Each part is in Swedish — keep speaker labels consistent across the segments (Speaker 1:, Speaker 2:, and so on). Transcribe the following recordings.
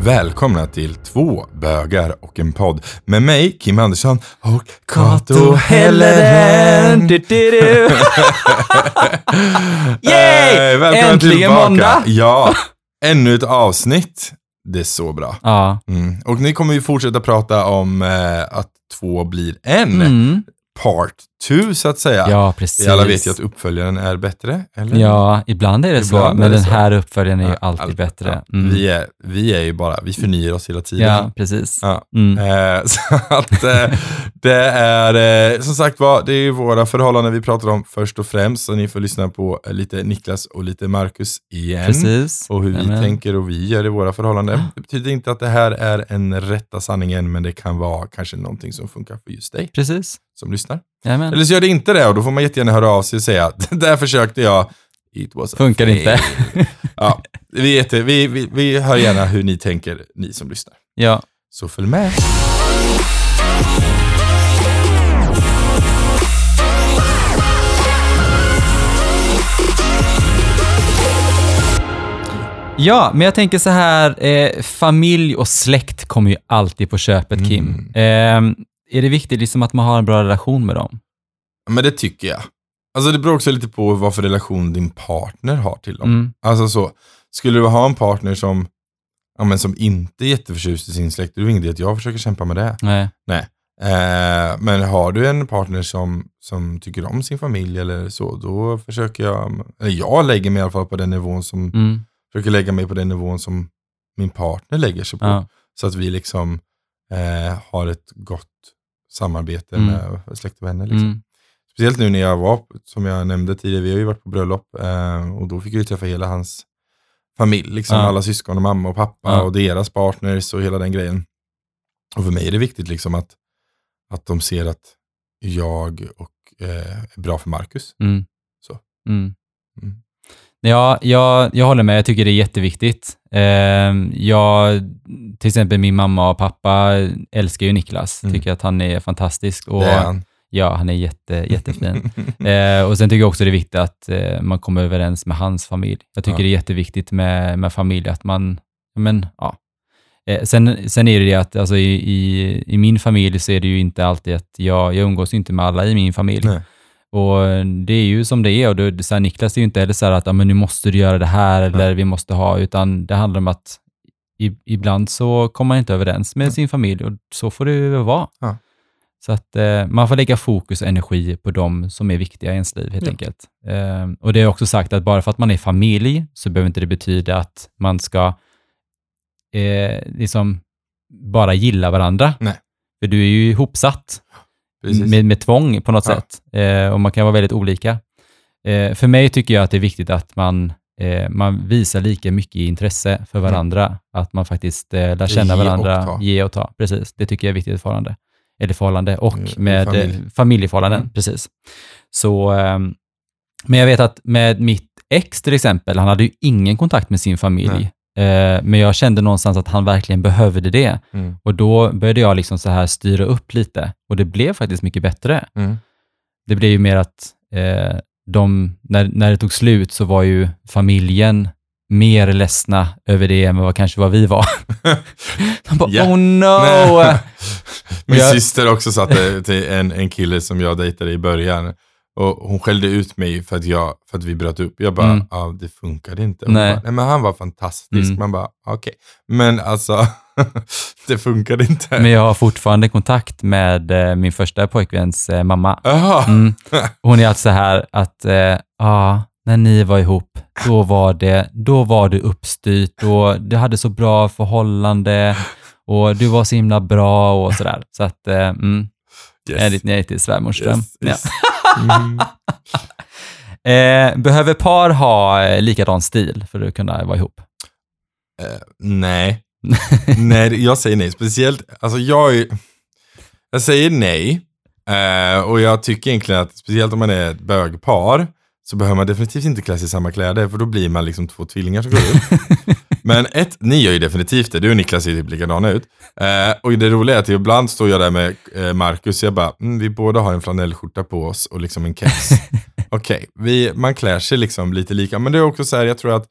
Speaker 1: välkomna till två bögar och en podd med mig, Kim Andersson och Kato
Speaker 2: Kato
Speaker 1: Helleren.
Speaker 2: Helleren. Du, du, du. Yay!
Speaker 1: Eh, välkomna
Speaker 2: Äntligen
Speaker 1: tillbaka.
Speaker 2: måndag.
Speaker 1: Ja, ännu ett avsnitt. Det är så bra.
Speaker 2: Ja.
Speaker 1: Mm. Och ni kommer ju fortsätta prata om eh, att två blir en,
Speaker 2: Mm.
Speaker 1: part two så att säga.
Speaker 2: ja, precis.
Speaker 1: Vi alla vet ju att uppföljaren är bättre, eller?
Speaker 2: Ja, ibland är det så,
Speaker 1: Ibland är
Speaker 2: men
Speaker 1: det
Speaker 2: den
Speaker 1: så.
Speaker 2: här uppföljaren är ju
Speaker 1: Ja,
Speaker 2: alltid
Speaker 1: allt-
Speaker 2: bättre.
Speaker 1: ja.
Speaker 2: Mm.
Speaker 1: Vi, är, vi är ju bara, vi förnyar oss hela tiden.
Speaker 2: Ja, precis.
Speaker 1: Ja.
Speaker 2: Mm.
Speaker 1: Eh, Så att eh, det är, eh, som sagt var, det är ju våra förhållanden vi pratar om först och främst. Så ni får lyssna på eh, lite Niklas och lite Marcus igen.
Speaker 2: Precis.
Speaker 1: Och hur vi
Speaker 2: Jajamän.
Speaker 1: tänker och vi gör i våra förhållanden. Det betyder inte att det här är en rätta sanningen, men det kan vara kanske någonting som funkar för just dig
Speaker 2: Precis.
Speaker 1: som lyssnar.
Speaker 2: Jajamän.
Speaker 1: Eller så gör det inte det och då får man jättegärna höra av sig och säga att "Det där försökte jag. It was a
Speaker 2: Funkar
Speaker 1: fail."
Speaker 2: inte.
Speaker 1: Ja, vi, är jätte, vi, vi, vi hör gärna hur ni tänker, ni som lyssnar.
Speaker 2: ja.
Speaker 1: Så följ med.
Speaker 2: ja, men jag tänker så här, eh, familj och släkt kommer ju alltid på köpet, Kim.
Speaker 1: Mm.
Speaker 2: Eh, är det viktigt liksom att man har en bra relation med dem?
Speaker 1: Men det tycker jag. Alltså det beror också lite på vad för relation din partner har till dem.
Speaker 2: Mm.
Speaker 1: Alltså så, skulle du ha en partner som, ja, men som inte är jätteförtjust i sin släkt, det är ju ingen idé att jag försöker kämpa med det.
Speaker 2: Nej.
Speaker 1: Eh, men har du en partner som, som tycker om sin familj eller så, då försöker jag, eller jag lägger mig i alla fall på den nivån som,
Speaker 2: Mm.
Speaker 1: försöker lägga mig på den nivån som min partner lägger sig på.
Speaker 2: Ja.
Speaker 1: Så att vi liksom eh, har ett gott samarbete
Speaker 2: Mm.
Speaker 1: med släkt och vänner. Liksom.
Speaker 2: Mm.
Speaker 1: Speciellt nu när jag var, som jag nämnde tidigare, vi har ju varit på bröllop eh, och då fick jag ju träffa hela hans familj, liksom
Speaker 2: Ja.
Speaker 1: alla syskon och mamma och pappa
Speaker 2: Ja.
Speaker 1: och deras partners och hela den grejen. Och för mig är det viktigt liksom att, att de ser att jag och, eh, är bra för Marcus.
Speaker 2: Mm.
Speaker 1: Så.
Speaker 2: Mm.
Speaker 1: Mm.
Speaker 2: Ja, jag, jag håller med. Jag tycker det är jätteviktigt. Ehm, jag, till exempel min mamma och pappa älskar ju Niklas.
Speaker 1: Mm.
Speaker 2: Tycker att han är fantastisk. Och,
Speaker 1: det är han.
Speaker 2: Ja, han är jätte, jättefin.
Speaker 1: Mm.
Speaker 2: Eh, och sen tycker jag också det är viktigt att eh, man kommer överens med hans familj. Jag tycker
Speaker 1: Ja.
Speaker 2: det är jätteviktigt med, med familj, att man, men ja. Eh, sen, sen är det det att alltså, i, i, i min familj så är det ju inte alltid att jag, jag umgås ju inte med alla i min familj.
Speaker 1: Nej.
Speaker 2: Och eh, det är ju som det är och det, så här, Niklas är ju inte heller så här att "Ja, men nu måste du göra det här eller vi måste ha, utan det handlar om att i, ibland så kommer man inte överens med sin familj och så får det ju vara.
Speaker 1: Ja.
Speaker 2: Så att eh, man får lägga fokus och energi på de som är viktiga i ens liv helt
Speaker 1: Ja.
Speaker 2: enkelt. Eh, och det är också sagt att bara för att man är familj så behöver inte det betyda att man ska eh, liksom bara gilla varandra.
Speaker 1: Nej.
Speaker 2: För du är ju ihopsatt
Speaker 1: Precis.
Speaker 2: med, med tvång på något
Speaker 1: Ja.
Speaker 2: sätt. Eh, och man kan vara väldigt olika. Eh, för mig tycker jag att det är viktigt att man, eh, man visar lika mycket intresse för varandra. Att man faktiskt eh, lär känna
Speaker 1: Mm. Ge och
Speaker 2: varandra,
Speaker 1: ta.
Speaker 2: ge och ta. Precis, det tycker jag är viktigt i förhållande. Eller förhållande och
Speaker 1: Mm, i
Speaker 2: med
Speaker 1: familj.
Speaker 2: familj. familjeförhållanden.
Speaker 1: Mm.
Speaker 2: Precis. Så, ehm, men jag vet att med mitt ex till exempel, han hade ju ingen kontakt med sin familj. Eh, men jag kände någonstans att han verkligen behövde det.
Speaker 1: Mm.
Speaker 2: Och då började jag liksom så här styra upp lite och det blev faktiskt mycket bättre.
Speaker 1: Mm.
Speaker 2: Det blev ju mer att eh, de, när, när det tog slut så var ju familjen mer ledsna över det än vad kanske vad vi var. De bara,
Speaker 1: Ja.
Speaker 2: oh no!
Speaker 1: Nej. Min
Speaker 2: jag-
Speaker 1: syster också satt eh, till en, en kille som jag dejtade i början. Och hon skällde ut mig för att, jag, för att vi bröt upp. Jag bara,
Speaker 2: Mm.
Speaker 1: ja det funkade inte. Hon
Speaker 2: Nej.
Speaker 1: Bara, Nej men han var fantastisk.
Speaker 2: Mm.
Speaker 1: Man bara, okej. Men alltså, det funkade inte.
Speaker 2: Men jag har fortfarande kontakt med eh, min första pojkväns eh, mamma.
Speaker 1: Jaha,
Speaker 2: Mm. Hon är alltså så här att, eh, ja, när ni var ihop, då var det, då var det uppstyrt och du hade så bra förhållande och du var så himla bra och sådär. Så att, eh, mm,
Speaker 1: yes.
Speaker 2: enligt nej till svärmors dröm.
Speaker 1: yes, yes. Mm.
Speaker 2: Ja. Eh, behöver par ha eh, likadan stil för att kunna vara ihop?
Speaker 1: Nej. nej, det- jag säger nej. Speciellt, alltså jag är, jag säger nej. Eh, och jag tycker egentligen att, speciellt om man är ett bögpar, så behöver man definitivt inte klä sig i samma kläder, för då blir man liksom två tvillingar som går upp. Men ett, ni gör ju definitivt det. Du och Niklas ser typ likadana ut. Eh, och det roliga är att ibland står jag där med eh, Marcus och jag bara, mm, vi båda har en flanellskjorta på oss och liksom en keps. Okej, vi- man klär sig liksom lite lika. Men det är också så här, jag tror att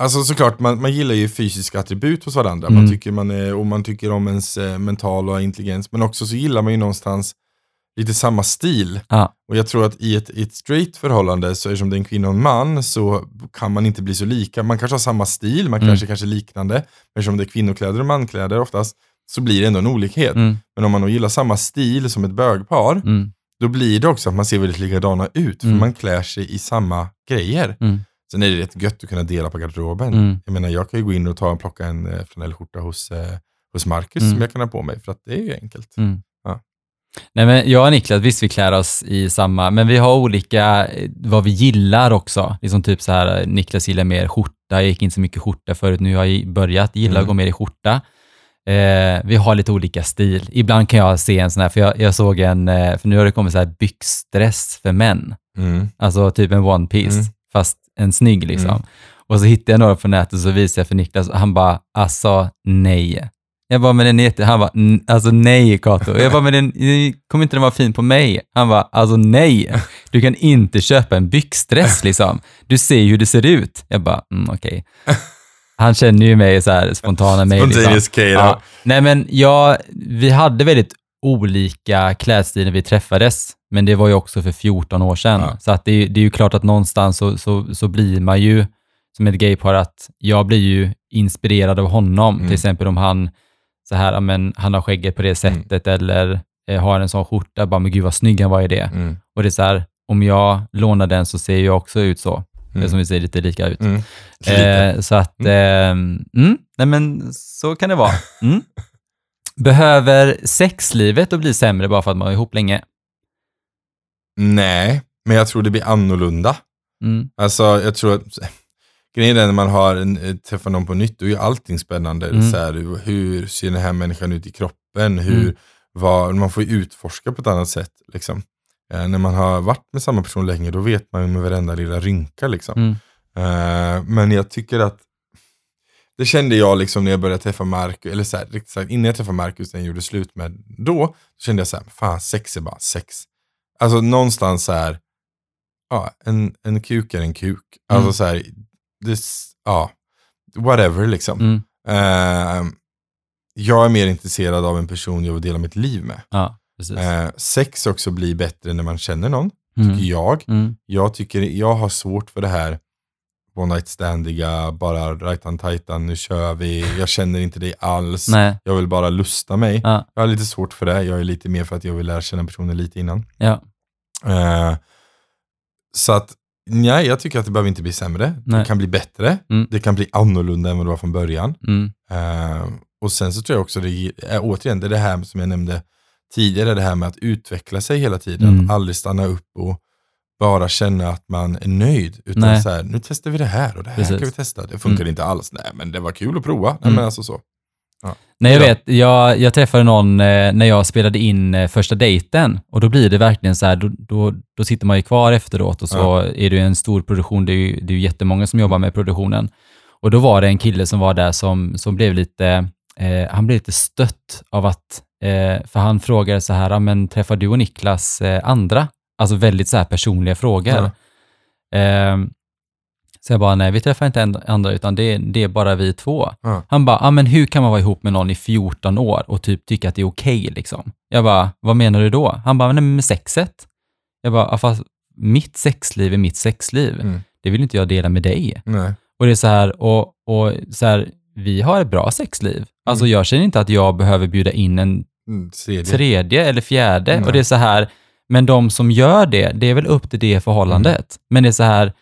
Speaker 1: Alltså såklart, man, man gillar ju fysiska attribut hos varandra. Man
Speaker 2: Mm.
Speaker 1: tycker man är, och man tycker om ens eh, mentala intelligens. Men också så gillar man ju någonstans lite samma stil.
Speaker 2: Ja.
Speaker 1: Och jag tror att i ett, i ett straight förhållande, så eftersom det är en kvinna och en man, så kan man inte bli så lika. Man kanske har samma stil, man
Speaker 2: Mm.
Speaker 1: kanske kanske är liknande. Men eftersom det är kvinnokläder och mankläder oftast, så blir det ändå en olikhet.
Speaker 2: Mm,
Speaker 1: Men om man då gillar samma stil som ett bögpar,
Speaker 2: mm,
Speaker 1: då blir det också att man ser väldigt likadana ut. För
Speaker 2: Mm.
Speaker 1: man klär sig i samma grejer.
Speaker 2: Mm.
Speaker 1: Sen är det rätt gött att kunna dela på garderoben.
Speaker 2: mm.
Speaker 1: Jag menar, jag kan ju gå in och ta och plocka en eh, flanellskjorta hos, eh, hos Marcus
Speaker 2: Mm.
Speaker 1: som jag kan ha på mig, för att det är ju enkelt.
Speaker 2: Mm.
Speaker 1: Ja.
Speaker 2: Nej, men jag och Niklas, visst vi klär oss i samma, men vi har olika eh, vad vi gillar också. Liksom typ så här, eh, Niklas gillar mer skjorta, jag gick inte så mycket skjorta förut, nu har jag i- börjat gilla att
Speaker 1: Mm.
Speaker 2: gå mer i skjorta. Eh, vi har lite olika stil. Ibland kan jag se en sån här, för jag, jag såg en, eh, för nu har det kommit så här byxdress för män.
Speaker 1: Mm.
Speaker 2: Alltså typ en one piece,
Speaker 1: Mm.
Speaker 2: fast en snygg liksom.
Speaker 1: Mm.
Speaker 2: Och så hittade jag några på nätet och så visade jag för Niklas och han bara, alltså nej. Jag bara, men den är jätte... Han bara, "N- alltså nej Kato. Jag bara, men den, kommer inte den vara fin på mig? Han bara, alltså nej. Du kan inte köpa en byxdress liksom. Du ser ju hur det ser ut. Jag bara, mm, okej. Han känner ju mig så här, spontana mig. Liksom.
Speaker 1: Spontaneous Kato.
Speaker 2: Ja. Nej men jag, vi hade väldigt olika klädstil när vi träffades, men det var ju också för 14 år sedan.
Speaker 1: Ja.
Speaker 2: Så att det, är ju- det är ju klart att någonstans så, så, så blir man ju, som ett gaypar, att jag blir ju inspirerad av honom.
Speaker 1: Mm.
Speaker 2: Till exempel om han, så här, ja, men, han har skägget på det
Speaker 1: Mm.
Speaker 2: sättet eller eh, har en sån skjorta, bara men gud vad snygg han var i det.
Speaker 1: Mm.
Speaker 2: Och det är så här, om jag lånar den så ser jag också ut så.
Speaker 1: Mm.
Speaker 2: Som vi säger, lite lika ut.
Speaker 1: Mm. Lite.
Speaker 2: Eh, så att, eh, mm, nej men så kan det vara. Mm. Behöver sexlivet att bli sämre bara för att man var ihop länge?
Speaker 1: Nej, men jag tror det blir annorlunda.
Speaker 2: Mm,
Speaker 1: Alltså, jag tror att grejen är när man har en, eh, träffar någon på nytt, då är ju allting spännande.
Speaker 2: Mm.
Speaker 1: Så här, hur ser den här människan ut i kroppen? Hur,
Speaker 2: Mm.
Speaker 1: vad, man får ju utforska på ett annat sätt. Liksom. Eh, när man har varit med samma person länge, då vet man ju med varenda lilla rynka. Liksom.
Speaker 2: mm,
Speaker 1: Eh, men jag tycker att det kände jag liksom när jag började träffa Marcus, eller så här, riktigt sagt, innan jag träffade Marcus, när jag gjorde slut med då, så kände jag så här, fan sex är bara sex. Alltså någonstans så här, ja, en, en kuk är en kuk. Alltså
Speaker 2: Mm.
Speaker 1: så här, this, ja, whatever liksom.
Speaker 2: mm,
Speaker 1: Eh, jag är mer intresserad av en person jag vill dela mitt liv med.
Speaker 2: ja, precis.
Speaker 1: Eh, sex också blir bättre när man känner någon,
Speaker 2: Mm,
Speaker 1: tycker jag.
Speaker 2: mm,
Speaker 1: Jag tycker, jag har svårt för det här one night standiga, bara rajtan tajtan, nu kör vi, jag känner inte dig alls,
Speaker 2: nej,
Speaker 1: jag vill bara lusta mig.
Speaker 2: Ja.
Speaker 1: Jag har lite svårt för det, jag är lite mer för att jag vill lära känna personen lite innan.
Speaker 2: ja,
Speaker 1: Eh, så att, nej, jag tycker att det behöver inte bli sämre.
Speaker 2: Nej.
Speaker 1: Det kan bli bättre,
Speaker 2: Mm.
Speaker 1: det kan bli annorlunda än vad det var från början.
Speaker 2: mm,
Speaker 1: Eh, och sen så tror jag också, det, är- återigen, det är det här som jag nämnde tidigare, det här med att utveckla sig hela tiden,
Speaker 2: Mm.
Speaker 1: att aldrig stanna upp och bara känna att man är nöjd. Utan
Speaker 2: Nej.
Speaker 1: så här, nu testar vi det här och det här
Speaker 2: Precis.
Speaker 1: kan vi testa. Det funkar
Speaker 2: Mm.
Speaker 1: inte alls. Nej, men det var kul att prova. Nej,
Speaker 2: Mm.
Speaker 1: men alltså så.
Speaker 2: Nej, jag
Speaker 1: Ja.
Speaker 2: vet. Jag, jag träffade någon eh, när jag spelade in eh, första dejten och då blir det verkligen så här, då, då, då sitter man ju kvar efteråt och så
Speaker 1: Ja.
Speaker 2: är det ju en stor produktion. Det är ju, det är ju jättemånga som jobbar med produktionen. Och då var det en kille som var där som, som blev lite, eh, han blev lite stött av att, eh, för han frågade så här, "Ja, men träffar du och Niklas eh, andra? Alltså väldigt så här personliga frågor.
Speaker 1: Ja.
Speaker 2: Ehm, så jag bara, nej vi träffar inte en- andra utan det, är- det är bara vi två.
Speaker 1: Ja.
Speaker 2: Han bara, ah, men hur kan man vara ihop med någon i 14 år och typ tycka att det är okej liksom? Jag bara, vad menar du då? Han bara, nej men med sexet. Jag bara, ah, fast mitt sexliv är mitt sexliv.
Speaker 1: Mm.
Speaker 2: Det vill inte jag dela med dig.
Speaker 1: Nej.
Speaker 2: Och det är så här, och, och så här, vi har ett bra sexliv. Alltså jag känner inte att jag behöver bjuda in en
Speaker 1: Mm, tredje.
Speaker 2: tredje eller fjärde.
Speaker 1: Nej.
Speaker 2: Och det är så här, men de som gör det, det är väl upp till det förhållandet.
Speaker 1: Mm.
Speaker 2: Men det är så här,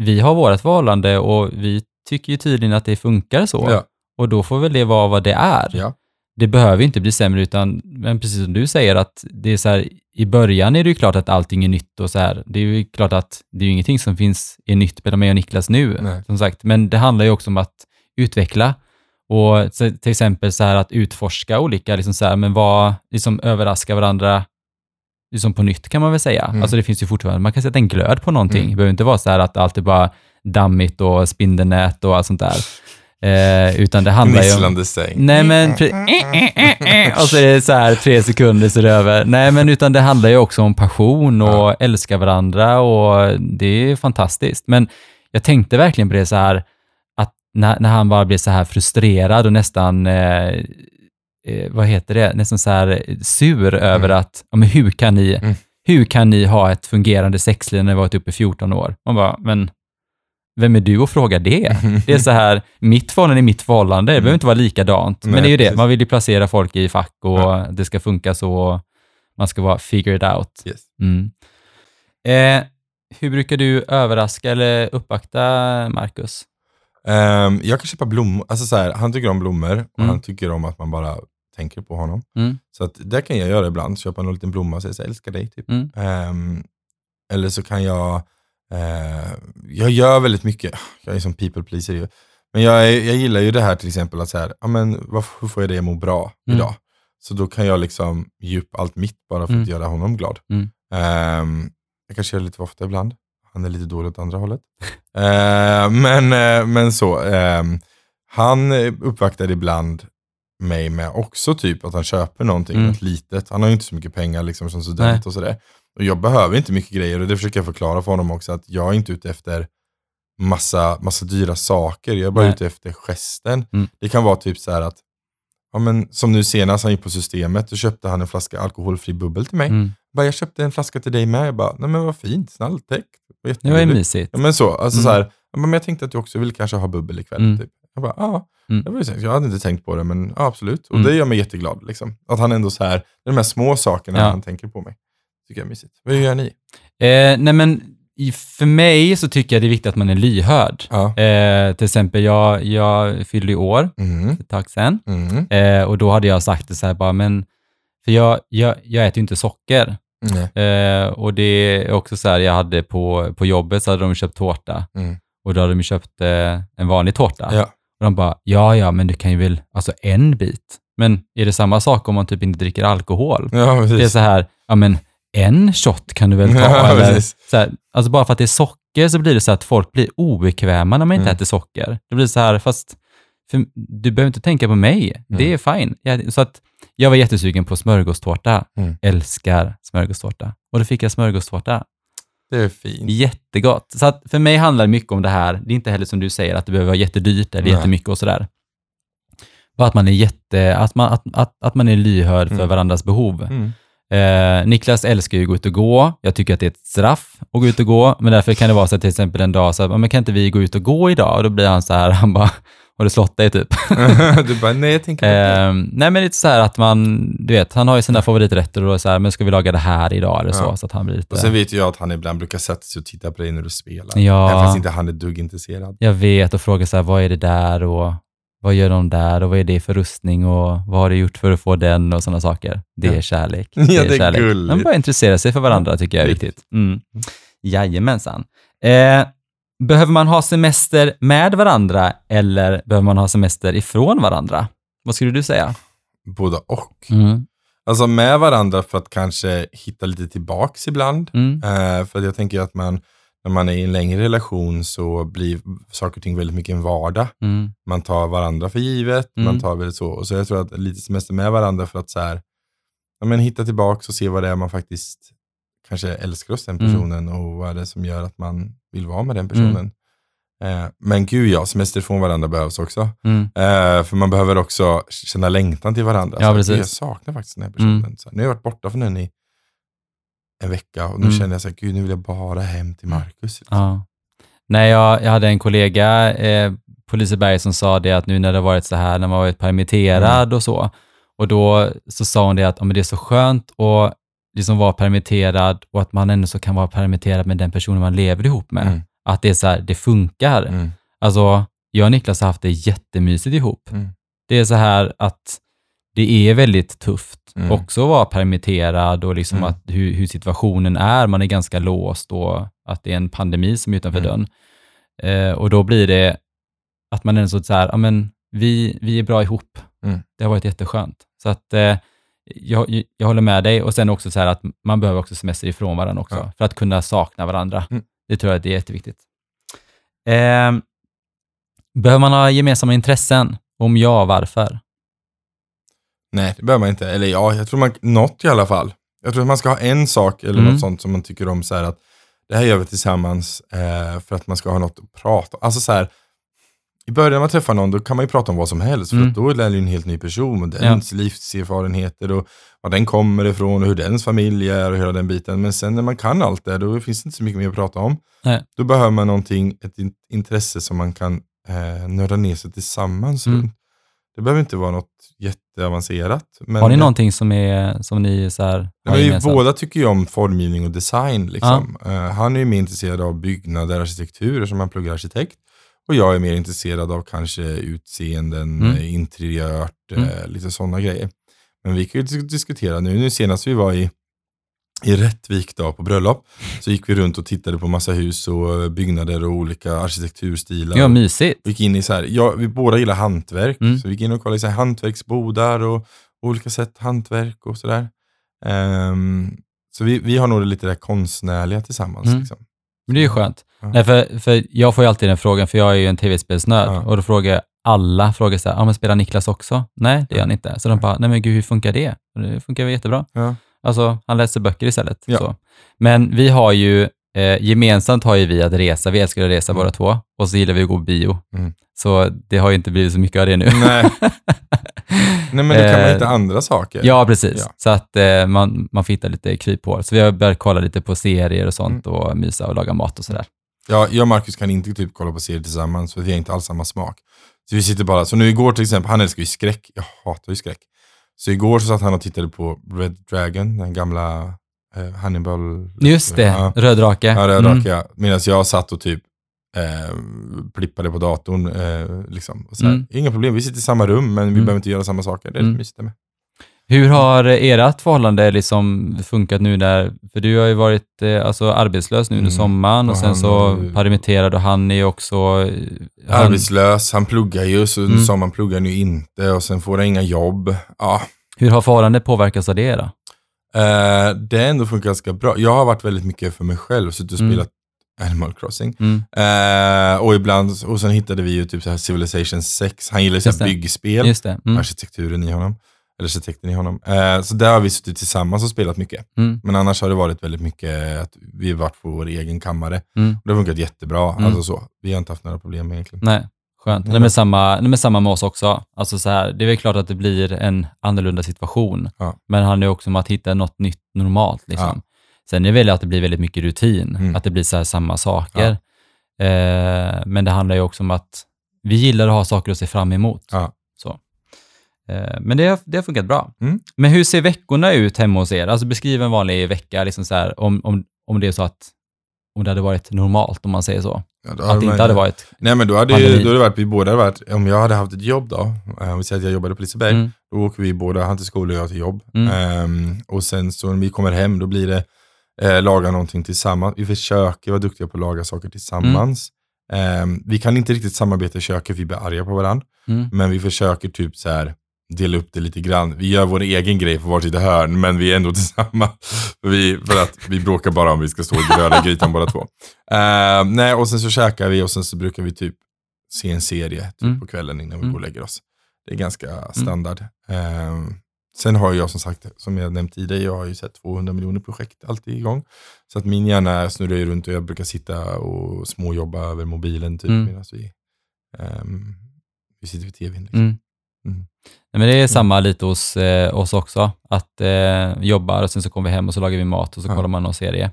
Speaker 2: vi har vårt förhållande och vi tycker ju tydligen att det funkar så.
Speaker 1: Ja.
Speaker 2: Och då får väl det vara vad det är.
Speaker 1: Ja.
Speaker 2: Det behöver ju inte bli sämre, utan men precis som du säger, att det är så här, i början är det ju klart att allting är nytt och så här. Det är ju klart att det är ju ingenting som finns är nytt mellan mig och Niklas nu,
Speaker 1: Nej.
Speaker 2: som sagt. Men det handlar ju också om att utveckla och så- till exempel så här att utforska olika, liksom så här, men vad, liksom överraska varandra liksom på nytt kan man väl säga.
Speaker 1: Mm.
Speaker 2: Alltså det finns ju fortfarande, man kan sätta en glöd på någonting.
Speaker 1: Mm.
Speaker 2: Det behöver inte vara så här att allt är bara dammigt och spindelnät och allt sånt där. Eh, utan det handlar ju om...
Speaker 1: Gnisslande säng.
Speaker 2: Nej men, pre- eh, eh, eh, eh. och så är det så här tre sekunder så är det över. Nej men utan det handlar ju också om passion och älska varandra och det är fantastiskt. Men jag tänkte verkligen på det så här, att när, när han bara blir så här frustrerad och nästan, eh, eh, vad heter det, nästan så här eh, sur över att, ja, men hur kan ni,
Speaker 1: Mm.
Speaker 2: hur kan ni ha ett fungerande sexliv när ni varit uppe i 14 år? Man bara, men vem är du att fråga det? Det är så här, mitt förhållande är mitt förhållande, det behöver inte vara likadant.
Speaker 1: Mm. Nej,
Speaker 2: men det är ju det,
Speaker 1: precis.
Speaker 2: man vill ju placera folk i fack och
Speaker 1: Ja.
Speaker 2: det ska funka så, och man ska vara figured out.
Speaker 1: Yes.
Speaker 2: Mm. Eh, hur brukar du överraska eller uppvakta Marcus?
Speaker 1: Ehm, jag kan köpa blommor. Alltså så här, han tycker om blommor och
Speaker 2: Mm.
Speaker 1: han tycker om att man bara tänker på honom.
Speaker 2: Mm.
Speaker 1: Så att det kan jag göra ibland. Köpa en liten blomma och säga så här, älskar dig. Typ.
Speaker 2: Mm.
Speaker 1: Ehm, eller så kan jag, eh, jag gör väldigt mycket, jag är som people pleaser ju. Men jag, är, jag gillar ju det här till exempel att så här, ja, men, vad, hur får jag dig att må bra
Speaker 2: Mm.
Speaker 1: idag? Så då kan jag liksom ge upp allt mitt bara för
Speaker 2: Mm.
Speaker 1: att göra honom glad.
Speaker 2: Mm.
Speaker 1: Ehm, jag kanske gör det lite för ofta ibland. Han är lite dålig åt andra hållet. Eh, men, eh, men så. ehm, han eh, uppvaktar ibland mig med också typ att han köper någonting,
Speaker 2: Mm.
Speaker 1: något litet. Han har ju inte så mycket pengar liksom som student och sådär. Och jag behöver inte mycket grejer och det försöker jag förklara för honom också att jag är inte ute efter massa, massa dyra saker. Jag är bara
Speaker 2: Nej.
Speaker 1: ute efter gesten.
Speaker 2: Mm.
Speaker 1: Det kan vara typ så här att, ja, men, som nu senast han gick på systemet, då köpte han en flaska alkoholfri bubbel till mig.
Speaker 2: Mm.
Speaker 1: Bara, jag köpte en flaska till dig med. Jag bara, nej men vad fint, snällt, tack. Vad
Speaker 2: Det var ju
Speaker 1: jättegulligt."
Speaker 2: mysigt.
Speaker 1: Ja, men så, alltså
Speaker 2: Mm.
Speaker 1: så här, "Ja, men jag tänkte att du också vill kanske ha bubbel ikväll.
Speaker 2: Mm.
Speaker 1: Typ. Jag bara, ja.
Speaker 2: Mm.
Speaker 1: Det var ju så- jag hade inte tänkt på det, men ja, absolut. Och
Speaker 2: Mm.
Speaker 1: det gör mig jätteglad. Liksom. Att han ändå så här, det är de här små sakerna
Speaker 2: Ja.
Speaker 1: han tänker på mig. Tycker jag är mysigt. Vad gör ni?
Speaker 2: Eh, nej men, i- för mig så tycker jag det är viktigt att man är lyhörd.
Speaker 1: Ja.
Speaker 2: Eh, till exempel, jag, jag fyllde ju år
Speaker 1: Mm.
Speaker 2: för ett tag sedan
Speaker 1: Mm.
Speaker 2: eh, och då hade jag sagt det så här bara, men, för jag, jag, jag äter ju inte socker.
Speaker 1: Nej.
Speaker 2: Eh, och det är också så här, jag hade på, på jobbet så hade de köpt tårta
Speaker 1: Mm.
Speaker 2: och då hade de köpt eh, en vanlig tårta.
Speaker 1: Ja.
Speaker 2: Och de bara, ja ja, men du kan ju väl, alltså en bit. Men är det samma sak om man typ inte dricker alkohol?
Speaker 1: Ja, precis.
Speaker 2: Det är så här, ja men en shot kan du väl ta?
Speaker 1: Ja,
Speaker 2: eller,
Speaker 1: precis.
Speaker 2: så här, alltså bara för att det är socker så blir det så att folk blir obekväma när man inte
Speaker 1: Mm.
Speaker 2: äter socker. Det blir så här, fast för, du behöver inte tänka på mig.
Speaker 1: Mm.
Speaker 2: Det är fine. Jag, så att jag var jättesugen på smörgåstårta.
Speaker 1: Mm.
Speaker 2: Älskar smörgåstårta. Och då fick jag smörgåstårta.
Speaker 1: det är fint.
Speaker 2: Jättegott. Så att för mig handlar det mycket om det här. Det är inte heller som du säger att det behöver vara jättedyrt eller
Speaker 1: Nej.
Speaker 2: jättemycket och sådär. Bara att man är jätte, att man, att, att, att man är lyhörd för
Speaker 1: Mm.
Speaker 2: varandras behov.
Speaker 1: Mm.
Speaker 2: Eh, Niklas älskar ju att gå ut och gå. Jag tycker att det är ett straff att gå ut och gå, men därför kan det vara så att till exempel en dag så här, "Ja, men kan inte vi gå ut och gå idag? Och då blir han så här, han bara, har du slått dig typ?
Speaker 1: du bara, nej jag tänker på det.
Speaker 2: Eh, nej men det är lite så här att man, du vet, han har ju sina favoriträtter och då är det så här, men ska vi laga det här idag eller så?
Speaker 1: Ja.
Speaker 2: Så att han blir lite...
Speaker 1: Och sen vet ju jag att han ibland brukar sätta sig och titta på dig när du spelar.
Speaker 2: Ja.
Speaker 1: Även fast inte han är duggintresserad.
Speaker 2: jag vet och frågar så här, vad är det där och vad gör de där och vad är det för rustning och vad har du gjort för att få den och sådana saker. Det är
Speaker 1: Ja.
Speaker 2: kärlek.
Speaker 1: Ja, det är
Speaker 2: kärlek.
Speaker 1: gulligt.
Speaker 2: Man bara intressera sig för varandra tycker jag är
Speaker 1: Riktigt.
Speaker 2: viktigt. Mm. Jajamensan. Eh, behöver man ha semester med varandra eller behöver man ha semester ifrån varandra? Vad skulle du säga?
Speaker 1: Både och.
Speaker 2: Mm.
Speaker 1: Alltså med varandra för att kanske hitta lite tillbaks ibland.
Speaker 2: Mm.
Speaker 1: Eh, för att jag tänker att man, när man är i en längre relation så blir saker och ting väldigt mycket en vardag.
Speaker 2: Mm.
Speaker 1: Man tar varandra för givet,
Speaker 2: Mm.
Speaker 1: man tar väldigt så. Och så jag tror att lite semester med varandra för att så här, ja, men hitta tillbaks och se vad det är man faktiskt kanske älskar hos den
Speaker 2: Mm.
Speaker 1: personen och vad det är som gör att man vill vara med den personen. Eh, men gud ja, semester från varandra behövs också.
Speaker 2: Mm.
Speaker 1: Eh, för man behöver också känna längtan till varandra.
Speaker 2: Ja,
Speaker 1: Så här,
Speaker 2: precis.
Speaker 1: Jag saknar faktiskt den här personen.
Speaker 2: Mm.
Speaker 1: Så här, nu har jag varit borta från den i en vecka och nu
Speaker 2: Mm.
Speaker 1: känner jag så här, gud nu vill jag bara hem till Marcus.
Speaker 2: Ja. Nej, jag, jag hade en kollega eh, på Liseberg som sa det att nu när det har varit så här, när man varit permitterad
Speaker 1: Mm.
Speaker 2: och så, och då så sa hon det att ja, men det är så skönt att liksom vara permitterad och att man ändå så kan vara permitterad med den personen man lever ihop med.
Speaker 1: Mm.
Speaker 2: Att det är så här, det funkar.
Speaker 1: Mm.
Speaker 2: Alltså, jag och Niklas har haft det jättemysigt ihop.
Speaker 1: Mm.
Speaker 2: Det är så här att det är väldigt tufft
Speaker 1: Mm.
Speaker 2: också att vara permitterad och liksom
Speaker 1: Mm.
Speaker 2: att hur, hur situationen är. Man är ganska låst och att det är en pandemi som är utanför
Speaker 1: Mm.
Speaker 2: dörren. Eh, och då blir det att man är så så här, ja men vi, vi är bra ihop.
Speaker 1: Mm.
Speaker 2: Det har varit jätteskönt. Så att eh, jag, jag håller med dig och sen också så här att man behöver också semester ifrån varandra också
Speaker 1: Ja.
Speaker 2: för att kunna sakna varandra.
Speaker 1: Mm.
Speaker 2: Det tror jag att det är jätteviktigt. Ehm, behöver man ha gemensamma intressen? Om ja, varför?
Speaker 1: Nej, det behöver man inte. Eller ja, jag tror man, något i alla fall. Jag tror att man ska ha en sak eller
Speaker 2: Mm.
Speaker 1: något sånt som man tycker om så här att det här gör vi tillsammans eh, för att man ska ha något att prata om. Alltså så här, i början när man träffar någon då kan man ju prata om vad som helst. För
Speaker 2: Mm.
Speaker 1: att då lär ju en helt ny person och
Speaker 2: Ja.
Speaker 1: dens livserfarenheter och var den kommer ifrån och hur dens familj är och hela den biten. Men sen när man kan allt det då finns det inte så mycket mer att prata om.
Speaker 2: Nej.
Speaker 1: Då behöver man någonting, ett in- intresse som man kan eh, nörda ner sig tillsammans
Speaker 2: Mm.
Speaker 1: runt. Det behöver inte vara något jätteavancerat. Men
Speaker 2: Har ni någonting som, är, som ni så här,
Speaker 1: Nej,
Speaker 2: har
Speaker 1: men vi
Speaker 2: gemensamt?
Speaker 1: båda tycker ju om formgivning och design. Liksom. Eh, han är ju mer intresserad av byggnader och arkitektur som han pluggar arkitekt. Och jag är mer intresserad av kanske utseenden,
Speaker 2: Mm.
Speaker 1: eh, interiört, eh,
Speaker 2: Mm.
Speaker 1: lite sådana grejer. Men vi kan ju dis- diskutera nu. Nu senast vi var i, i Rättvik då, på bröllop så gick vi runt och tittade på massa hus och eh, byggnader och olika arkitekturstilar.
Speaker 2: Ja, mysigt.
Speaker 1: Vi gick in i så här, ja, vi båda gillar hantverk,
Speaker 2: Mm.
Speaker 1: så vi gick in och kollade i så här hantverksbodar och olika sätt hantverk och sådär. Ehm, så vi, vi har nog det lite där konstnärliga tillsammans.
Speaker 2: Mm.
Speaker 1: Liksom.
Speaker 2: Men det är ju skönt.
Speaker 1: Ja.
Speaker 2: Nej, för, för jag får ju alltid den frågan, för jag är ju en tv-spelsnörd.
Speaker 1: Ja.
Speaker 2: Och då frågar jag alla, frågar så här, ah, men spelar Niklas också? Nej, det gör han inte. Så de bara, nej men gud, hur funkar det? Och Det funkar väl jättebra.
Speaker 1: Ja.
Speaker 2: Alltså, han läser böcker istället.
Speaker 1: Ja.
Speaker 2: Så. Men vi har ju, eh, gemensamt har ju vi att resa. Vi älskar att resa
Speaker 1: Mm.
Speaker 2: båda två. Och så gillar vi att gå på bio.
Speaker 1: Mm.
Speaker 2: Så det har ju inte blivit så mycket av det nu.
Speaker 1: Nej. Nej, men då kan man
Speaker 2: Eh,
Speaker 1: hitta andra saker.
Speaker 2: Ja, precis.
Speaker 1: typ. Ja.
Speaker 2: Så att eh, man, man får hitta lite kryphål. Så vi har börjat kolla lite på serier och sånt
Speaker 1: Mm.
Speaker 2: och mysa och laga mat och sådär.
Speaker 1: Ja, jag och Marcus kan inte typ kolla på serier tillsammans för vi har inte alls samma smak. Så vi sitter bara, så nu igår till exempel, han älskar ju skräck, jag hatar ju skräck. Så igår så satt han och tittade på Red Dragon, den gamla eh, Hannibal.
Speaker 2: Just det,
Speaker 1: Ja.
Speaker 2: Röd Drake.
Speaker 1: Ja, det
Speaker 2: Mm.
Speaker 1: drack jag. Medan jag satt och typ eh, plippade på datorn. Eh, liksom. och så här,
Speaker 2: Mm.
Speaker 1: Inga problem, vi sitter i samma rum men vi
Speaker 2: Mm.
Speaker 1: behöver inte göra samma saker. Det är
Speaker 2: Mm.
Speaker 1: lite mysigt med.
Speaker 2: Hur har ert förhållande liksom funkat nu där, för du har ju varit eh, alltså, arbetslös nu under
Speaker 1: Mm.
Speaker 2: sommaren och,
Speaker 1: Och
Speaker 2: sen
Speaker 1: han
Speaker 2: så
Speaker 1: är ju-
Speaker 2: permitterad och han är ju också... eh, Han,
Speaker 1: Arbetslös, han pluggar ju, så
Speaker 2: Mm.
Speaker 1: sa man pluggar nu inte och sen får han inga jobb. Ja,
Speaker 2: hur har förhållandet påverkats av det då?
Speaker 1: eh, det har ändå funkat ganska bra. Jag har varit väldigt mycket för mig själv, suttit och
Speaker 2: Mm.
Speaker 1: spelat Animal Crossing.
Speaker 2: Mm.
Speaker 1: Eh, och ibland, och sen hittade vi ju typ så här Civilization 6, han gillar ju så
Speaker 2: Just
Speaker 1: här
Speaker 2: det.
Speaker 1: byggspel.
Speaker 2: Just det. Mm.
Speaker 1: arkitekturen i honom. Eller arkitekten i honom. Eh, så där har vi suttit tillsammans och spelat mycket.
Speaker 2: Mm.
Speaker 1: Men annars har det varit väldigt mycket att vi har varit på vår egen kammare.
Speaker 2: Mm.
Speaker 1: Och det har funkat jättebra.
Speaker 2: Mm.
Speaker 1: Alltså så. Vi har inte haft några problem egentligen.
Speaker 2: Nej, skönt. Nej,
Speaker 1: Mm.
Speaker 2: men samma, nej, men samma med oss också. Alltså så här, det är väl klart att det blir en annorlunda situation,
Speaker 1: Ja.
Speaker 2: men det handlar ju också om att hitta något nytt normalt. Liksom.
Speaker 1: Ja.
Speaker 2: Sen är det väl att det blir väldigt mycket rutin,
Speaker 1: Mm.
Speaker 2: att det blir så här samma saker. Eh, men det handlar ju också om att vi gillar att ha saker att se fram emot.
Speaker 1: Ja.
Speaker 2: Så. Eh, men det har, det har funkat bra.
Speaker 1: Mm.
Speaker 2: Men hur ser veckorna ut hemma hos er? Alltså beskriv en vanlig vecka, liksom så här, om, om, om det är så att om det hade varit normalt, om man säger så.
Speaker 1: Ja, då
Speaker 2: Att det
Speaker 1: man-
Speaker 2: inte hade varit...
Speaker 1: Nej men då hade, ju,
Speaker 2: Pandemi.
Speaker 1: då hade det varit, vi båda hade varit, om jag hade haft ett jobb då, eh, om vi säger att jag jobbade på Liseberg,
Speaker 2: Mm.
Speaker 1: då åker vi båda, han till skola och jag till jobb.
Speaker 2: Mm.
Speaker 1: Ehm, och sen så när vi kommer hem, då blir det eh, laga någonting tillsammans. Vi försöker vara duktiga på att laga saker tillsammans. Ehm, vi kan inte riktigt samarbeta i köket, vi blir arga på varandra.
Speaker 2: Mm.
Speaker 1: Men vi försöker typ så här dela upp det lite grann. Vi gör vår egen grej på varsitt hörn, men vi är ändå tillsammans. För, vi, för att vi bråkar bara om vi ska stå i röda grytan båda två. Eh, nej, och sen så käkar vi och sen så brukar vi typ se en serie typ
Speaker 2: Mm.
Speaker 1: på kvällen innan vi
Speaker 2: Mm.
Speaker 1: går och lägger oss. Det är ganska standard. Eh, sen har jag som sagt, som jag nämnt tidigare, jag har ju sett 200 miljoner projekt alltid igång. Så att min hjärna snurrar ju runt och jag brukar sitta och småjobba över mobilen typ
Speaker 2: Mm.
Speaker 1: medan vi, ehm, vi sitter vid tvn. Liksom.
Speaker 2: Mm.
Speaker 1: Mm.
Speaker 2: Nej, men det är samma lite hos eh, oss också. Att eh, jobbar och sen så kommer vi hem och så lagar vi mat och så
Speaker 1: Ja.
Speaker 2: kollar man någon serie.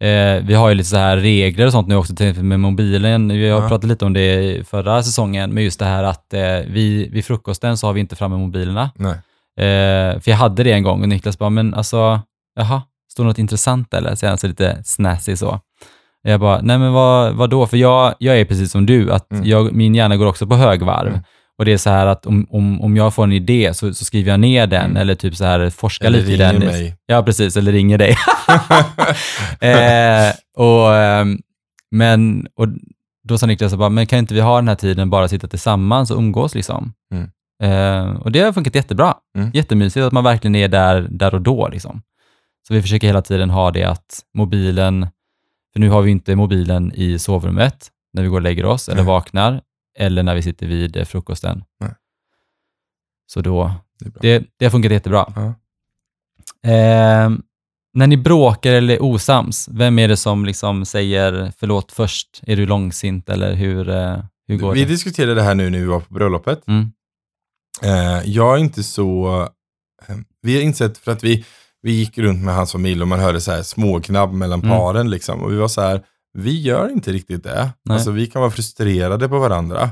Speaker 2: Eh, vi har ju lite så här regler och sånt nu också, till exempel med mobilen. Vi har
Speaker 1: Ja.
Speaker 2: pratat lite om det i förra säsongen, men just det här att eh, vi, vid frukosten så har vi inte framme mobilerna.
Speaker 1: Nej.
Speaker 2: Eh, för jag hade det en gång och Niklas bara, men alltså, jaha, står något intressant eller? Så är han så lite snassig så. Jag bara, nej men vad, vad då? För jag, jag är precis som du, att
Speaker 1: Mm.
Speaker 2: jag, min hjärna går också på högvarv.
Speaker 1: Mm.
Speaker 2: Och det är så här att om, om, om jag får en idé så, så skriver jag ner den
Speaker 1: Mm.
Speaker 2: eller typ så här forskar
Speaker 1: Eller
Speaker 2: lite i
Speaker 1: ringer
Speaker 2: den.
Speaker 1: mig.
Speaker 2: Ja, precis, eller ringer dig. eh, och, ehm, men, och då sa Niklas, så bara, men kan inte vi ha den här tiden bara sitta tillsammans och umgås liksom?
Speaker 1: Mm.
Speaker 2: Eh, och det har funkat jättebra.
Speaker 1: Mm.
Speaker 2: Jättemysigt att man verkligen är där, där och då. Liksom. Så vi försöker hela tiden ha det att mobilen, för nu har vi inte mobilen i sovrummet när vi går och lägger oss eller
Speaker 1: Nej.
Speaker 2: vaknar eller när vi sitter vid eh, frukosten.
Speaker 1: Nej.
Speaker 2: Så då,
Speaker 1: Det är bra.
Speaker 2: det, det har funkat jättebra.
Speaker 1: Ja.
Speaker 2: Ehm, när ni bråkar eller är osams, vem är det som liksom säger förlåt först? Är du långsint eller hur? eh, Hur går
Speaker 1: vi
Speaker 2: det?
Speaker 1: diskuterade det här nu när vi var på bröllopet.
Speaker 2: Mm.
Speaker 1: Eh, jag är inte så... eh, Vi har insett, för att vi, vi gick runt med hans familj och man hörde så här småknabb mellan
Speaker 2: Mm.
Speaker 1: paren. Liksom, och vi var så här, vi gör inte riktigt det.
Speaker 2: Nej.
Speaker 1: Alltså, vi kan vara frustrerade på varandra.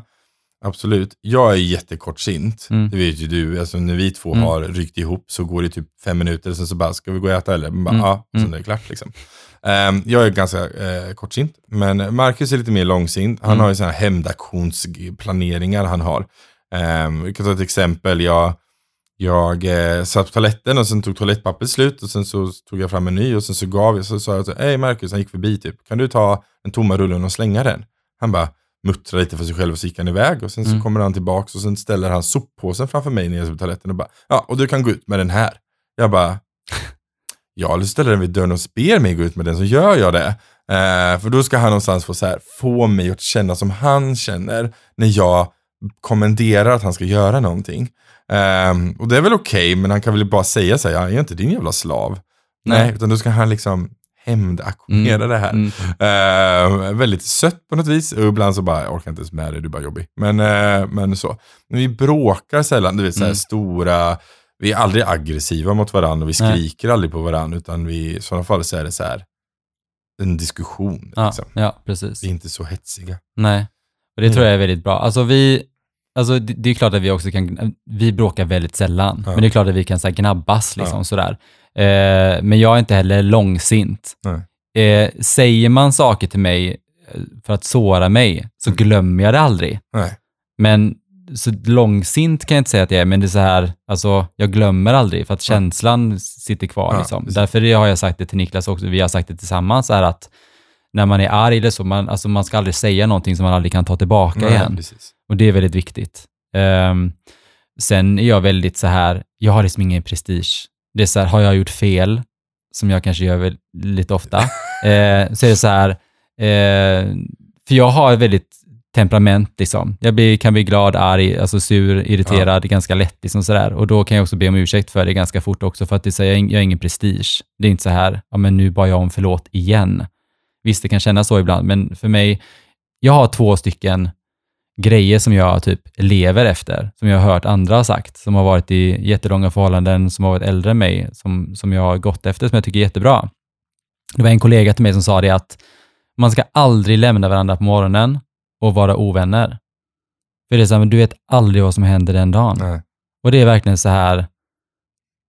Speaker 1: Absolut. Jag är jättekortsint.
Speaker 2: Mm.
Speaker 1: Det vet ju du. Alltså, när vi två
Speaker 2: Mm.
Speaker 1: har ryckt ihop så går det typ fem minuter, sen så bara, ska vi gå och äta eller? Man Bara,
Speaker 2: Mm.
Speaker 1: Ja, sen
Speaker 2: Mm.
Speaker 1: är det klart. Liksom. Ehm, jag är ganska eh, kortsint, men Marcus är lite mer långsint. Han
Speaker 2: Mm.
Speaker 1: har ju sådana här hämndaktionsplaneringar han har. Ehm, vi kan ta ett exempel. Jag, jag eh, satt på toaletten och sen tog toalettpappret slut och sen så tog jag fram en ny och sen så gav jag, så sa jag så hej Marcus, han gick förbi typ, kan du ta den tomma rullen och slänga den? Han bara muttrar lite för sig själv och så gick han iväg och sen så
Speaker 2: Mm.
Speaker 1: kommer han tillbaks och sen ställer han soppåsen framför mig nere på toaletten och bara, ja och du kan gå ut med den här. Jag bara, ja eller så ställer den vid dörren och ber mig gå ut med den så gör jag det. Eh, för då ska han någonstans få, så här, få mig att känna som han känner när jag kommenderar att han ska göra någonting. Ehm, och det är väl okej, men han kan väl bara säga så här, jag är inte din jävla slav. Nej,
Speaker 2: Nej.
Speaker 1: utan då ska han liksom hämndaktionera det här.
Speaker 2: Mm.
Speaker 1: Ehm, väldigt sött på något vis. Och ibland så bara, jag orkar inte ens med dig, du är bara jobbig. Men, eh, men så. Men vi bråkar sällan, du vet så här
Speaker 2: Mm.
Speaker 1: stora, vi är aldrig aggressiva mot varandra och vi
Speaker 2: Nej.
Speaker 1: skriker aldrig på varandra, utan vi, i sådana fall så är det så här, en diskussion.
Speaker 2: Ja,
Speaker 1: Liksom.
Speaker 2: ja, precis.
Speaker 1: Vi Mm. är inte så hetsiga.
Speaker 2: Nej, och det tror jag är väldigt bra. Alltså vi, alltså det, det är klart att vi också kan, vi bråkar väldigt sällan,
Speaker 1: Ja.
Speaker 2: men det är klart att vi kan så här, gnabbas liksom
Speaker 1: Ja.
Speaker 2: sådär. Eh, men jag är inte heller långsint. Eh, säger man saker till mig eh, för att såra mig, så
Speaker 1: Mm.
Speaker 2: glömmer jag det aldrig.
Speaker 1: Nej.
Speaker 2: Men så långsint kan jag inte säga att jag är, men det är så här, alltså jag glömmer aldrig för att
Speaker 1: Ja.
Speaker 2: känslan sitter kvar.
Speaker 1: Ja,
Speaker 2: liksom.
Speaker 1: precis.
Speaker 2: Därför har jag sagt det till Niklas också, vi har sagt det tillsammans, är att när man är arg eller så, man, alltså man ska aldrig säga någonting som man aldrig kan ta tillbaka
Speaker 1: Nej,
Speaker 2: igen.
Speaker 1: precis.
Speaker 2: Och det är väldigt viktigt. Ehm, sen är jag väldigt så här, jag har liksom ingen prestige. Det är så här, har jag gjort fel, som jag kanske gör väl lite ofta, eh, så är det så här, eh, för jag har väldigt temperament liksom. Jag blir, kan bli glad, arg, alltså sur, irriterad ganska lätt liksom sådär. Och då kan jag också be om ursäkt för det ganska fort också för att det är så här, jag har ing- jag har ingen prestige. Det är inte så här, ja men nu bad jag om förlåt igen. Visst, det kan kännas så ibland, men för mig, jag har två stycken grejer som jag typ lever efter, som jag har hört andra ha sagt, som har varit i jättelånga förhållanden, som har varit äldre än mig, som, som jag har gått efter, som jag tycker är jättebra. Det var en kollega till mig som sa det att man ska aldrig lämna varandra på morgonen och vara ovänner. För det är så här, men du vet aldrig vad som händer den dagen.
Speaker 1: Nej.
Speaker 2: Och det är verkligen så här,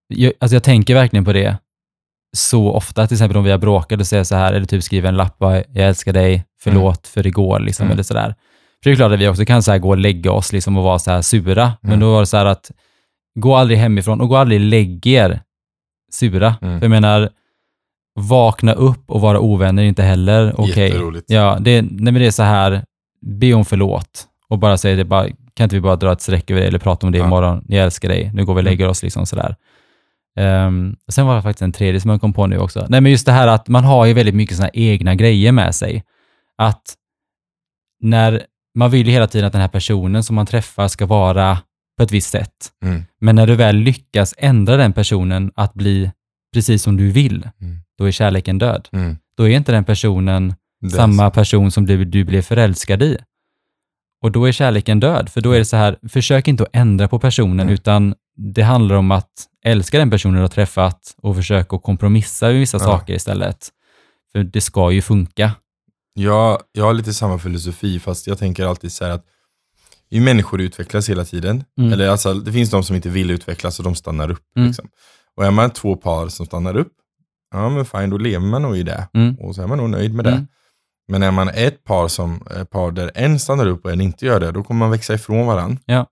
Speaker 2: jag, alltså jag tänker verkligen på det så ofta, till exempel om vi har bråkat och säger så här, eller typ skriver en lapp, bara, jag älskar dig, förlåt för igår, liksom,
Speaker 1: Mm.
Speaker 2: eller så där. För det är klart att vi också kan så här gå och lägga oss liksom och vara så här sura, men
Speaker 1: Mm.
Speaker 2: då var det så här att gå aldrig hemifrån och gå aldrig och lägg er sura.
Speaker 1: Mm.
Speaker 2: För jag menar, vakna upp och vara ovänner är inte heller okej.
Speaker 1: Jätteroligt.
Speaker 2: Ja, det, nej men det är så här, be om förlåt och bara säga det, bara, kan inte vi bara dra ett streck över det eller prata om det
Speaker 1: Ja. Mm.
Speaker 2: imorgon, jag älskar dig, nu går vi och lägger oss liksom sådär. Um, sen var det faktiskt en tredje som jag kom på nu också. Nej men just det här att man har ju väldigt mycket sådana egna grejer med sig. Att när, man vill ju hela tiden att den här personen som man träffar ska vara på ett visst sätt.
Speaker 1: Mm.
Speaker 2: Men när du väl lyckas ändra den personen att bli precis som du vill,
Speaker 1: Mm.
Speaker 2: då är kärleken död.
Speaker 1: Mm.
Speaker 2: Då är inte den personen
Speaker 1: Det är
Speaker 2: samma person som du, du blev förälskad i. Och då är kärleken död, för då är det så här, försök inte att ändra på personen,
Speaker 1: Mm.
Speaker 2: utan det handlar om att älska den personen du har träffat och försöka att kompromissa med vissa
Speaker 1: Ja.
Speaker 2: saker istället. För det ska ju funka.
Speaker 1: Jag, jag har lite samma filosofi, fast jag tänker alltid så här att vi människor utvecklas hela tiden.
Speaker 2: Mm.
Speaker 1: Eller alltså, det finns de som inte vill utvecklas och de stannar upp.
Speaker 2: Mm.
Speaker 1: Liksom. Och är man två par som stannar upp, ja men fine, då lever man nog i det.
Speaker 2: Mm.
Speaker 1: Och så är man nog nöjd med det.
Speaker 2: Mm.
Speaker 1: Men är man ett par, som, ett par där en stannar upp och en inte gör det, då kommer man växa ifrån varandra.
Speaker 2: Ja.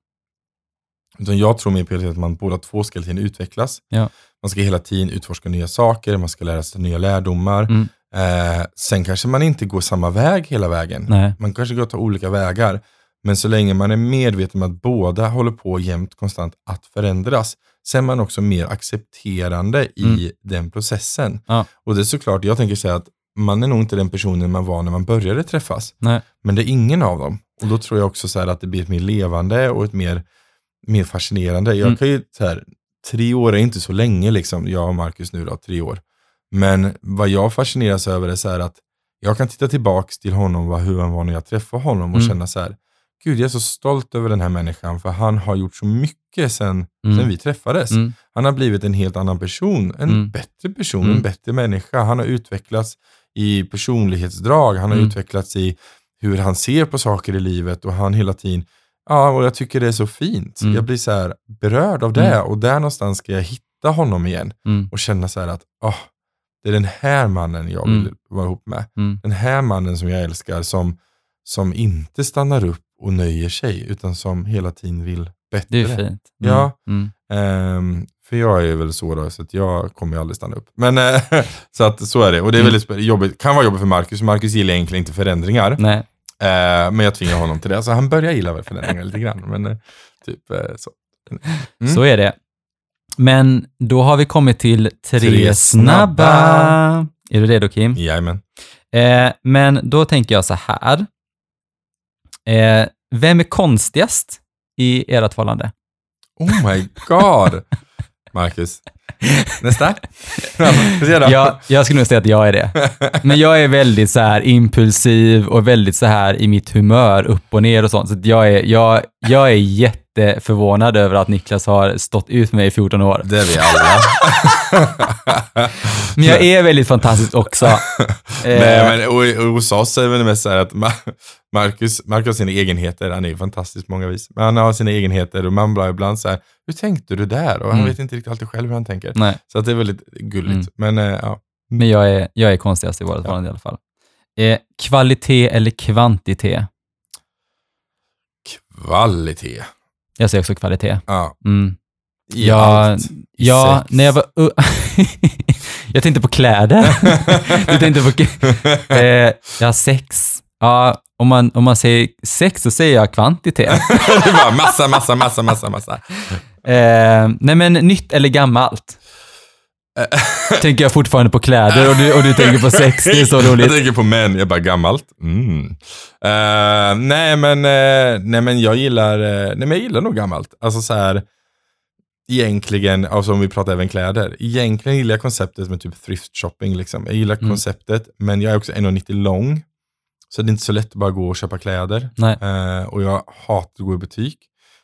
Speaker 1: Utan jag tror mer på att man båda två ska hela tiden utvecklas.
Speaker 2: Ja.
Speaker 1: Man ska hela tiden utforska nya saker, man ska lära sig nya lärdomar.
Speaker 2: Mm.
Speaker 1: Eh, sen kanske man inte går samma väg hela vägen.
Speaker 2: Nej.
Speaker 1: Man kanske går ta olika vägar. Men så länge man är medveten om att båda håller på jämt konstant att förändras, så är man också mer accepterande i den processen.
Speaker 2: Mm. Ja.
Speaker 1: Och det är såklart, jag tänker säga att man är nog inte den personen man var när man började träffas.
Speaker 2: Nej.
Speaker 1: Men det är ingen av dem. Och då tror jag också så här att det blir ett mer levande och ett mer, mer fascinerande. Jag
Speaker 2: Mm.
Speaker 1: kan ju, så här, tre år är inte så länge liksom, jag och Marcus nu då, tre år. Men vad jag fascineras över är så här att jag kan titta tillbaks till honom, vad, hur han var när jag träffade honom och
Speaker 2: Mm.
Speaker 1: känna så här, gud jag är så stolt över den här människan för han har gjort så mycket sen,
Speaker 2: Mm.
Speaker 1: sen vi träffades.
Speaker 2: Mm.
Speaker 1: Han har blivit en helt annan person, en
Speaker 2: Mm.
Speaker 1: bättre person,
Speaker 2: Mm.
Speaker 1: en bättre människa. Han har utvecklats i personlighetsdrag, han har
Speaker 2: Mm.
Speaker 1: utvecklats i hur han ser på saker i livet och han hela tiden, ja och jag tycker det är så fint.
Speaker 2: Mm.
Speaker 1: Jag blir så här berörd av det och där någonstans ska jag hitta honom igen
Speaker 2: Mm.
Speaker 1: och känna så här att ah, det är den här mannen jag vill
Speaker 2: Mm.
Speaker 1: vara ihop med.
Speaker 2: Mm.
Speaker 1: Den här mannen som jag älskar som, som inte stannar upp och nöjer sig utan som hela tiden vill bättre.
Speaker 2: Det är ju fint. Mm.
Speaker 1: Ja.
Speaker 2: Mm.
Speaker 1: Ehm, för jag är väl så då, så att jag kommer ju aldrig stanna upp. Men eh, så att så är det. Och det är
Speaker 2: Mm.
Speaker 1: väldigt sp- jobbigt, kan vara jobbigt för Marcus. Marcus gillar egentligen inte förändringar.
Speaker 2: Nej.
Speaker 1: Eh, men jag tvingar honom till det. Så han börjar gilla väl förändringar lite grann. Men eh, typ eh, så. Mm.
Speaker 2: Så är det. Men då har vi kommit till tre,
Speaker 1: Tre
Speaker 2: snabba.
Speaker 1: snabba.
Speaker 2: Är du redo Kim?
Speaker 1: Jajamän.
Speaker 2: Eh, men då tänker jag så här. Eh, vem är konstigast i ert förhållande?
Speaker 1: Oh my god! Marcus. Nästa. Ja, får se då.
Speaker 2: Jag, jag skulle nog säga att jag är det. Men jag är väldigt så här impulsiv och väldigt så här i mitt humör, upp och ner och sånt. Så att jag, är, jag, jag är jätteförvånad över att Niklas har stått ut med mig i 14 år.
Speaker 1: Det är vi alla.
Speaker 2: Men jag är väldigt fantastisk också. Eh,
Speaker 1: Nej, men och- och hos oss är det väl mest så här att Ma- Marcus, Marcus har sina egenheter, han är ju fantastisk på många vis, men han har sina egenheter och man blir ibland så här, hur tänkte du där? Och han
Speaker 2: Mm.
Speaker 1: vet inte riktigt alltid själv hur han tänker.
Speaker 2: Nej.
Speaker 1: Så att det är väldigt gulligt.
Speaker 2: Mm.
Speaker 1: Men eh, ja,
Speaker 2: Men jag är, jag är konstigast i vårt förhållande i alla fall. Eh, kvalitet eller kvantitet?
Speaker 1: kvalitet.
Speaker 2: Jag säger också kvalitet.
Speaker 1: Ja,
Speaker 2: Mm.
Speaker 1: i
Speaker 2: Ja,
Speaker 1: allt. I
Speaker 2: Ja,
Speaker 1: sex.
Speaker 2: när jag var... u- jag tänkte på kläder. du tänkte på... Eh, ja, sex. Ja, om man, om man säger sex så säger jag kvantitet.
Speaker 1: det var massa, massa, massa, massa, massa.
Speaker 2: Eh, nej, men nytt eller gammalt? tänker jag fortfarande på kläder och du, och du tänker på sex. Det är så
Speaker 1: Jag
Speaker 2: roligt.
Speaker 1: tänker på män, jag bara gammalt. Mm. Eh, nej, men, eh, nej men jag gillar, eh, nej men jag gillar nog gammalt. Alltså så här, egentligen, alltså om vi pratar även kläder, egentligen gillar jag konceptet med typ thrift shopping liksom. Jag gillar
Speaker 2: Mm.
Speaker 1: konceptet, men jag är också 1,90 lång. Så det är inte så lätt att bara gå och köpa kläder.
Speaker 2: Nej.
Speaker 1: Eh, och jag hatar att gå i butik.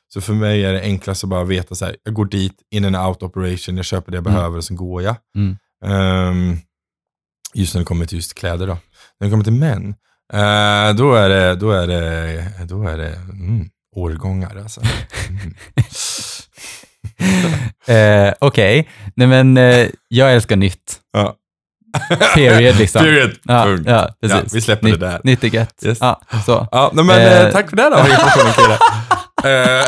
Speaker 1: Så för mig är det enklast att bara veta så här, jag går dit, in and out operation, jag köper det jag
Speaker 2: Mm.
Speaker 1: behöver och sen går jag.
Speaker 2: Mm.
Speaker 1: Ehm, just när det kommer till just kläder då. När det kommer till män, eh, då är det, då är det, då är det mm, årgångar alltså. Mm.
Speaker 2: Eh, Okej, nej men eh, jag älskar nytt.
Speaker 1: Ja.
Speaker 2: Period liksom.
Speaker 1: Period,
Speaker 2: Ja,
Speaker 1: punkt.
Speaker 2: ja,
Speaker 1: Ja,
Speaker 2: precis.
Speaker 1: vi släpper
Speaker 2: Nytt-
Speaker 1: det där.
Speaker 2: Nytt är gött.
Speaker 1: Yes.
Speaker 2: Ja, så.
Speaker 1: Ja, nej, men eh,
Speaker 2: Eh.
Speaker 1: tack för det då, informationen Kira. Eh,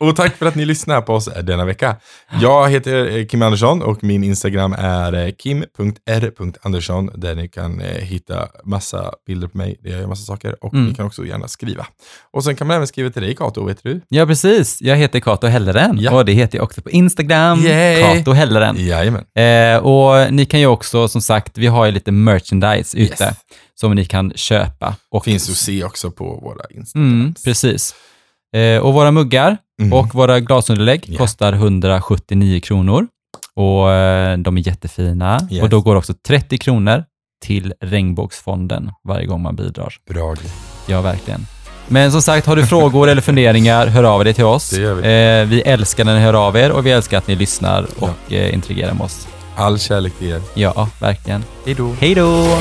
Speaker 1: och tack för att ni lyssnar på oss denna vecka. Jag heter eh, Kim Andersson och min Instagram är eh, kim.r.andersson där ni kan eh, hitta massa bilder på mig. där Jag gör massa saker och
Speaker 2: Mm.
Speaker 1: ni kan också gärna skriva. Och sen kan man även skriva till dig Kato, vet du?
Speaker 2: Ja, precis. Jag heter Kato Helleren
Speaker 1: Ja.
Speaker 2: och det heter jag också på Instagram.
Speaker 1: Yay.
Speaker 2: Kato Helleren.
Speaker 1: Jajamän.
Speaker 2: Eh, och ni kan ju också, som sagt, vi har ju lite merchandise ute
Speaker 1: Yes.
Speaker 2: som ni kan köpa. Och,
Speaker 1: Finns att se också på våra Instagrams.
Speaker 2: Mm, precis. Eh, och våra muggar
Speaker 1: Mm.
Speaker 2: och våra glasunderlägg
Speaker 1: Ja.
Speaker 2: kostar 179 kronor. Och eh, de är jättefina.
Speaker 1: Yes.
Speaker 2: Och då går också 30 kronor till Regnbågsfonden varje gång man bidrar.
Speaker 1: Bra grej.
Speaker 2: Ja, verkligen. Men som sagt, har du frågor eller funderingar, hör av dig till oss.
Speaker 1: Det gör vi.
Speaker 2: Eh, vi älskar när ni hör av er och vi älskar att ni lyssnar och eh, interagerar med oss.
Speaker 1: All kärlek till er.
Speaker 2: Ja, verkligen.
Speaker 1: Hej då.
Speaker 2: Hej då!